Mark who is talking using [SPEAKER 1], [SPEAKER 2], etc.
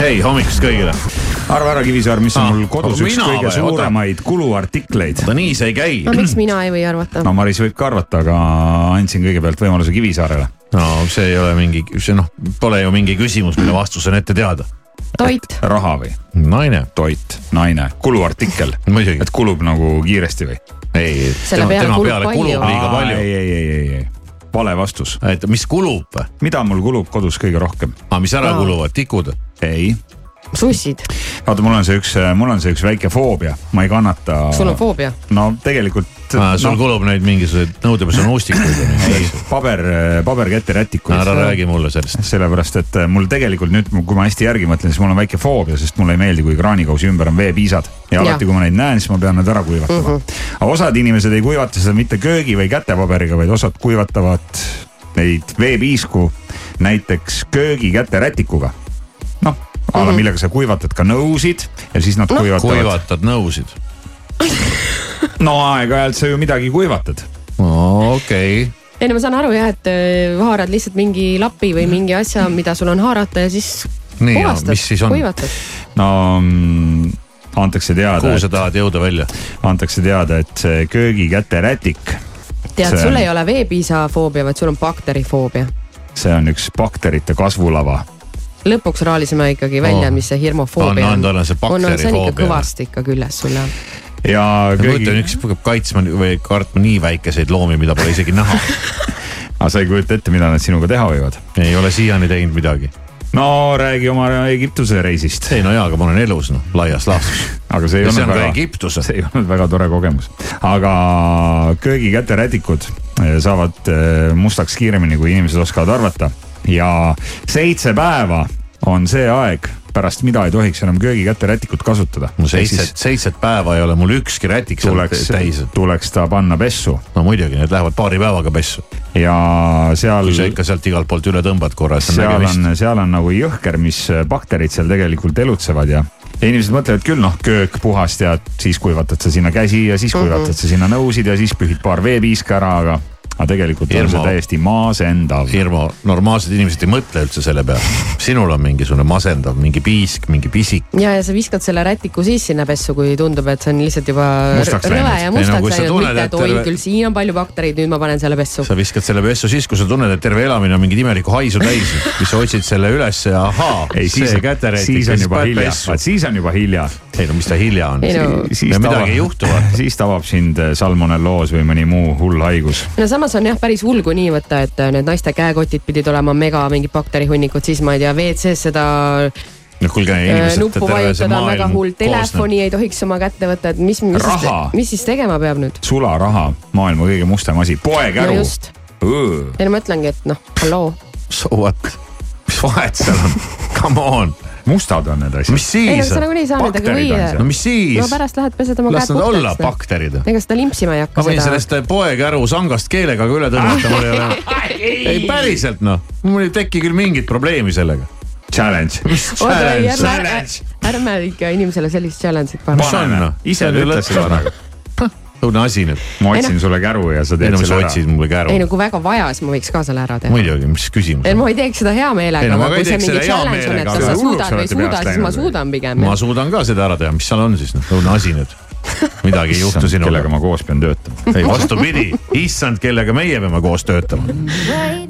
[SPEAKER 1] hei hommikust kõigile.
[SPEAKER 2] arva ära , Kivisaar , mis on
[SPEAKER 1] Ah,
[SPEAKER 2] mul kodus üks
[SPEAKER 1] mina
[SPEAKER 2] kõige
[SPEAKER 1] või? Oota.
[SPEAKER 2] suuremaid kuluartikleid .
[SPEAKER 1] no nii see ei käi
[SPEAKER 3] no . miks mina ei või arvata
[SPEAKER 2] no ? Maris võib ka arvata , aga andsin kõigepealt võimaluse Kivisaarele .
[SPEAKER 1] no see ei ole mingi , see noh , pole ju mingi küsimus , mille vastus on ette teada .
[SPEAKER 3] toit ,
[SPEAKER 2] raha või
[SPEAKER 1] naine ,
[SPEAKER 2] toit , naine , kuluartikkel ,
[SPEAKER 1] muidugi
[SPEAKER 2] et , kulub nagu kiiresti või ?
[SPEAKER 1] ei ,
[SPEAKER 3] Selle
[SPEAKER 1] tema,
[SPEAKER 3] peale
[SPEAKER 1] tema
[SPEAKER 3] kulub
[SPEAKER 1] peale
[SPEAKER 3] palju.
[SPEAKER 1] kulub liiga palju .
[SPEAKER 2] ei , ei , ei , ei , ei , vale vastus .
[SPEAKER 1] et mis kulub või ?
[SPEAKER 2] mida mul kulub kodus kõige rohkem ?
[SPEAKER 1] aga mis ära
[SPEAKER 3] Aa.
[SPEAKER 1] kuluvad , tikud ?
[SPEAKER 2] ei ,
[SPEAKER 3] sussid ,
[SPEAKER 2] vaata , mul on see üks , mul on see üks väike foobia , ma ei kannata .
[SPEAKER 3] sul on foobia .
[SPEAKER 2] no tegelikult .
[SPEAKER 1] Ah,
[SPEAKER 2] noh,
[SPEAKER 1] sul kulub neid mingisuguseid nõudepesumuustikuid ja neid asju .
[SPEAKER 2] paber , paberkette rätikuid .
[SPEAKER 1] ära räägi mulle sellest .
[SPEAKER 2] sellepärast , et äh, mul tegelikult nüüd , kui ma hästi järgi mõtlen , siis mul on väike foobia , sest mulle ei meeldi , kui kraanikausi ümber on veepiisad . ja
[SPEAKER 3] Jah.
[SPEAKER 2] alati , kui ma neid näen , siis ma pean nad ära kuivatama mm . -hmm. aga osad inimesed ei kuivata seda mitte köögi või kätepaberiga , vaid osad kuivatavad neid veepiisku näiteks köögikäterätikuga . noh , a la millega sa kuivatad ka nõusid ja siis nad no, kuivatavad kuivat. .
[SPEAKER 1] kuivatad nõusid ?
[SPEAKER 2] no aeg-ajalt sa ju midagi kuivatad .
[SPEAKER 1] okei ,
[SPEAKER 3] ei no ma saan aru jah , et öö, haarad lihtsalt mingi lapi või mingi asja , mida sul on haarata ja siis
[SPEAKER 1] Nii, ja
[SPEAKER 3] puhastad
[SPEAKER 1] mis siis , on?
[SPEAKER 3] kuivatad .
[SPEAKER 2] no mm, antakse teada
[SPEAKER 1] kuhu , sa tahad jõuda välja ?
[SPEAKER 2] antakse teada , et see köögikäterätik
[SPEAKER 3] tead ,
[SPEAKER 2] See-
[SPEAKER 3] sul ei ole veepiisafoobia , vaid sul on bakterifoobia .
[SPEAKER 2] see on üks bakterite kasvulava .
[SPEAKER 3] lõpuks raalisime ikkagi välja
[SPEAKER 1] Oh.
[SPEAKER 3] oh. , mis see hirmufoobia
[SPEAKER 1] On- on
[SPEAKER 3] on .
[SPEAKER 1] tal on see
[SPEAKER 3] see on ikka
[SPEAKER 1] bakterifoobia.
[SPEAKER 3] kõvasti ikka küljes sul jah .
[SPEAKER 2] ja
[SPEAKER 1] ma kujutan ,
[SPEAKER 2] köögi ,
[SPEAKER 1] üks peab kaitsma või kartma nii väikeseid loomi , mida pole isegi näha .
[SPEAKER 2] aga Ah, sa ei kujuta ette , mida nad sinuga teha võivad .
[SPEAKER 1] ei ole siiani teinud midagi .
[SPEAKER 2] no räägi oma Egiptuse reisist ,
[SPEAKER 1] ei no jaa , aga ma olen elus noh , laias laastus .
[SPEAKER 2] aga see ei
[SPEAKER 1] see on
[SPEAKER 2] olnud
[SPEAKER 1] ka
[SPEAKER 2] väga ,
[SPEAKER 1] Egiptuses .
[SPEAKER 2] see ei olnud väga tore kogemus . aga köögikäterätikud eh, saavad eh, mustaks kiiremini , kui inimesed oskavad arvata ja seitse päeva on see aeg , pärast mida ei tohiks enam köögikäterätikut kasutada .
[SPEAKER 1] no seitset , seitset päeva ei ole mul ükski rätik seal
[SPEAKER 2] tuleks
[SPEAKER 1] täis .,
[SPEAKER 2] tuleks ta panna pessu
[SPEAKER 1] no muidugi , need lähevad paari päevaga pessu .
[SPEAKER 2] ja seal .
[SPEAKER 1] kui sa ikka sealt igalt poolt üle tõmbad korra , siis on
[SPEAKER 2] seal
[SPEAKER 1] nägemist .
[SPEAKER 2] on , seal on nagu jõhker , mis bakterid seal tegelikult elutsevad ja , ja inimesed mõtlevad küll noh , köök puhas ja siis kuivatad sa sinna käsi ja siis
[SPEAKER 1] Mhm.
[SPEAKER 2] kuivatad sa sinna nõusid ja siis pühid paar veepiiska ära , aga , aga tegelikult on
[SPEAKER 1] Hirmu.
[SPEAKER 2] see täiesti maasendav .
[SPEAKER 1] Irmo , normaalsed inimesed ei mõtle üldse selle peale . sinul on mingisugune masendav , mingi piisk , mingi pisik .
[SPEAKER 3] ja , ja sa viskad selle rätiku siis sinna pessu , kui tundub , et see on lihtsalt juba
[SPEAKER 2] Mustaks
[SPEAKER 3] rõve
[SPEAKER 2] läinud.
[SPEAKER 1] Ei
[SPEAKER 3] ja
[SPEAKER 1] no kui
[SPEAKER 3] mustaks
[SPEAKER 1] sa
[SPEAKER 3] läinud ,
[SPEAKER 1] tunned,
[SPEAKER 3] mitte
[SPEAKER 1] et
[SPEAKER 3] et oi
[SPEAKER 1] terve-
[SPEAKER 3] küll , siin on palju baktereid , nüüd ma panen selle pessu .
[SPEAKER 1] sa viskad selle pessu siis , kui sa tunned , et terve elamine on mingit imelikku haisu täis , siis sa otsid selle üles ja ahaa ,
[SPEAKER 2] ei , siis
[SPEAKER 1] see , käterätik .
[SPEAKER 2] siis on juba hilja , siis on juba hilja .
[SPEAKER 1] ei no mis ta hilja on
[SPEAKER 3] Ei . no-
[SPEAKER 1] ja midagi ei juhtu vaata .
[SPEAKER 2] siis tabab sind äh, salmonelloos või mõni muu hull haigus .
[SPEAKER 3] no samas on jah , päris hull , kui nii võtta , et äh, need naiste käekotid pidid olema mega mingid bakterihunnikud , siis ma ei tea , WC-s seda
[SPEAKER 1] noh kuulge
[SPEAKER 3] äh,
[SPEAKER 1] inimesed ,
[SPEAKER 3] nuppu
[SPEAKER 1] terve see
[SPEAKER 3] vajutada on väga
[SPEAKER 1] maailm
[SPEAKER 3] hull ,
[SPEAKER 1] koosneb .
[SPEAKER 3] telefoni ei tohiks oma kätte võtta , et mis , mis siis
[SPEAKER 2] Raha. ,
[SPEAKER 3] mis siis tegema peab nüüd ?
[SPEAKER 2] sularaha , maailma kõige mustem asi ,
[SPEAKER 3] no
[SPEAKER 2] poekäru .
[SPEAKER 3] just , ei no ma ütlengi , et noh , halloo
[SPEAKER 1] So what , mis vahet seal on , come on ,
[SPEAKER 2] mustad on need asjad .
[SPEAKER 1] mis
[SPEAKER 3] ei no nagu
[SPEAKER 1] siis
[SPEAKER 3] sa nagunii ei saa nendega
[SPEAKER 2] Bakterid on
[SPEAKER 3] võida
[SPEAKER 2] seal. .
[SPEAKER 1] no mis
[SPEAKER 3] no
[SPEAKER 1] siis ,
[SPEAKER 3] pärast lähed pesed oma
[SPEAKER 1] las
[SPEAKER 3] käed
[SPEAKER 1] nad olla
[SPEAKER 3] puhtaks .
[SPEAKER 1] bakterid .
[SPEAKER 3] ega seda limpsima ei hakka
[SPEAKER 1] ma võin
[SPEAKER 3] seda .
[SPEAKER 1] sellest poekäru sangast keelega ka üle tõmmata , mul ei ole . ei päriselt noh , mul ei teki küll mingit probleemi sellega .
[SPEAKER 2] Challenge .
[SPEAKER 1] Challenge.
[SPEAKER 3] ärme, ärme ikka inimesele sellist challenge'it pane .
[SPEAKER 1] Mis on, noh?
[SPEAKER 2] ise
[SPEAKER 1] See on ju
[SPEAKER 2] ütles seda
[SPEAKER 1] lõtv.
[SPEAKER 2] praegu .
[SPEAKER 1] õudne asi nüüd .
[SPEAKER 2] ma
[SPEAKER 3] Ei
[SPEAKER 2] otsin sulle käru ja sa
[SPEAKER 1] ei
[SPEAKER 2] teed
[SPEAKER 1] no sa
[SPEAKER 2] selle ära .
[SPEAKER 1] otsid mulle
[SPEAKER 3] ei no
[SPEAKER 1] käru .
[SPEAKER 3] kui väga vaja , siis ma võiks ka selle ära teha .
[SPEAKER 1] muidugi , mis küsimus
[SPEAKER 3] ei
[SPEAKER 1] on ?
[SPEAKER 3] ma ei teeks seda hea meelega ,
[SPEAKER 1] Ei, no ma ka
[SPEAKER 3] aga
[SPEAKER 1] ei
[SPEAKER 3] kui see
[SPEAKER 1] teeks
[SPEAKER 3] mingi
[SPEAKER 1] seda hea
[SPEAKER 3] challenge on , et
[SPEAKER 1] meelega,
[SPEAKER 3] kas
[SPEAKER 2] aga
[SPEAKER 3] sa
[SPEAKER 2] hulluks
[SPEAKER 3] suudad või
[SPEAKER 2] olete
[SPEAKER 3] ei suuda
[SPEAKER 2] peast ,
[SPEAKER 3] siis ma
[SPEAKER 2] läinud.
[SPEAKER 3] suudan pigem .
[SPEAKER 1] ma suudan ka seda ära teha , mis seal on siis noh , õudne asi nüüd . midagi ei juhtu sinuga
[SPEAKER 2] kellega . ma koos pean töötama .
[SPEAKER 1] ei vastupidi , issand , kellega meie peame koos töötama .